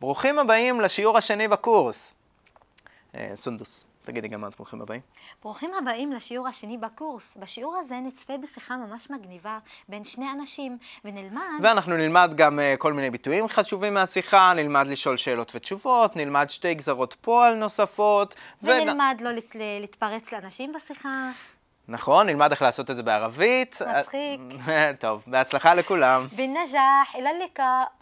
ברוכים הבאים לשיעור השני בקורס. אה, סונדוס, תגידי גם את ברוכים הבאים. ברוכים הבאים לשיעור השני בקורס. בשיעור הזה נצפה בשיחה ממש מגניבה בין שני אנשים, ונלמד... ואנחנו נלמד גם אה, כל מיני ביטויים חשובים מהשיחה, נלמד לשאול שאלות ותשובות, נלמד שתי גזרות פועל נוספות. ונ- ונלמד לא לת- ל- להתפרץ לאנשים בשיחה. נכון, נלמד איך לעשות את זה בערבית. מצחיק. טוב, בהצלחה לכולם. בנג'ח, אל הליקה.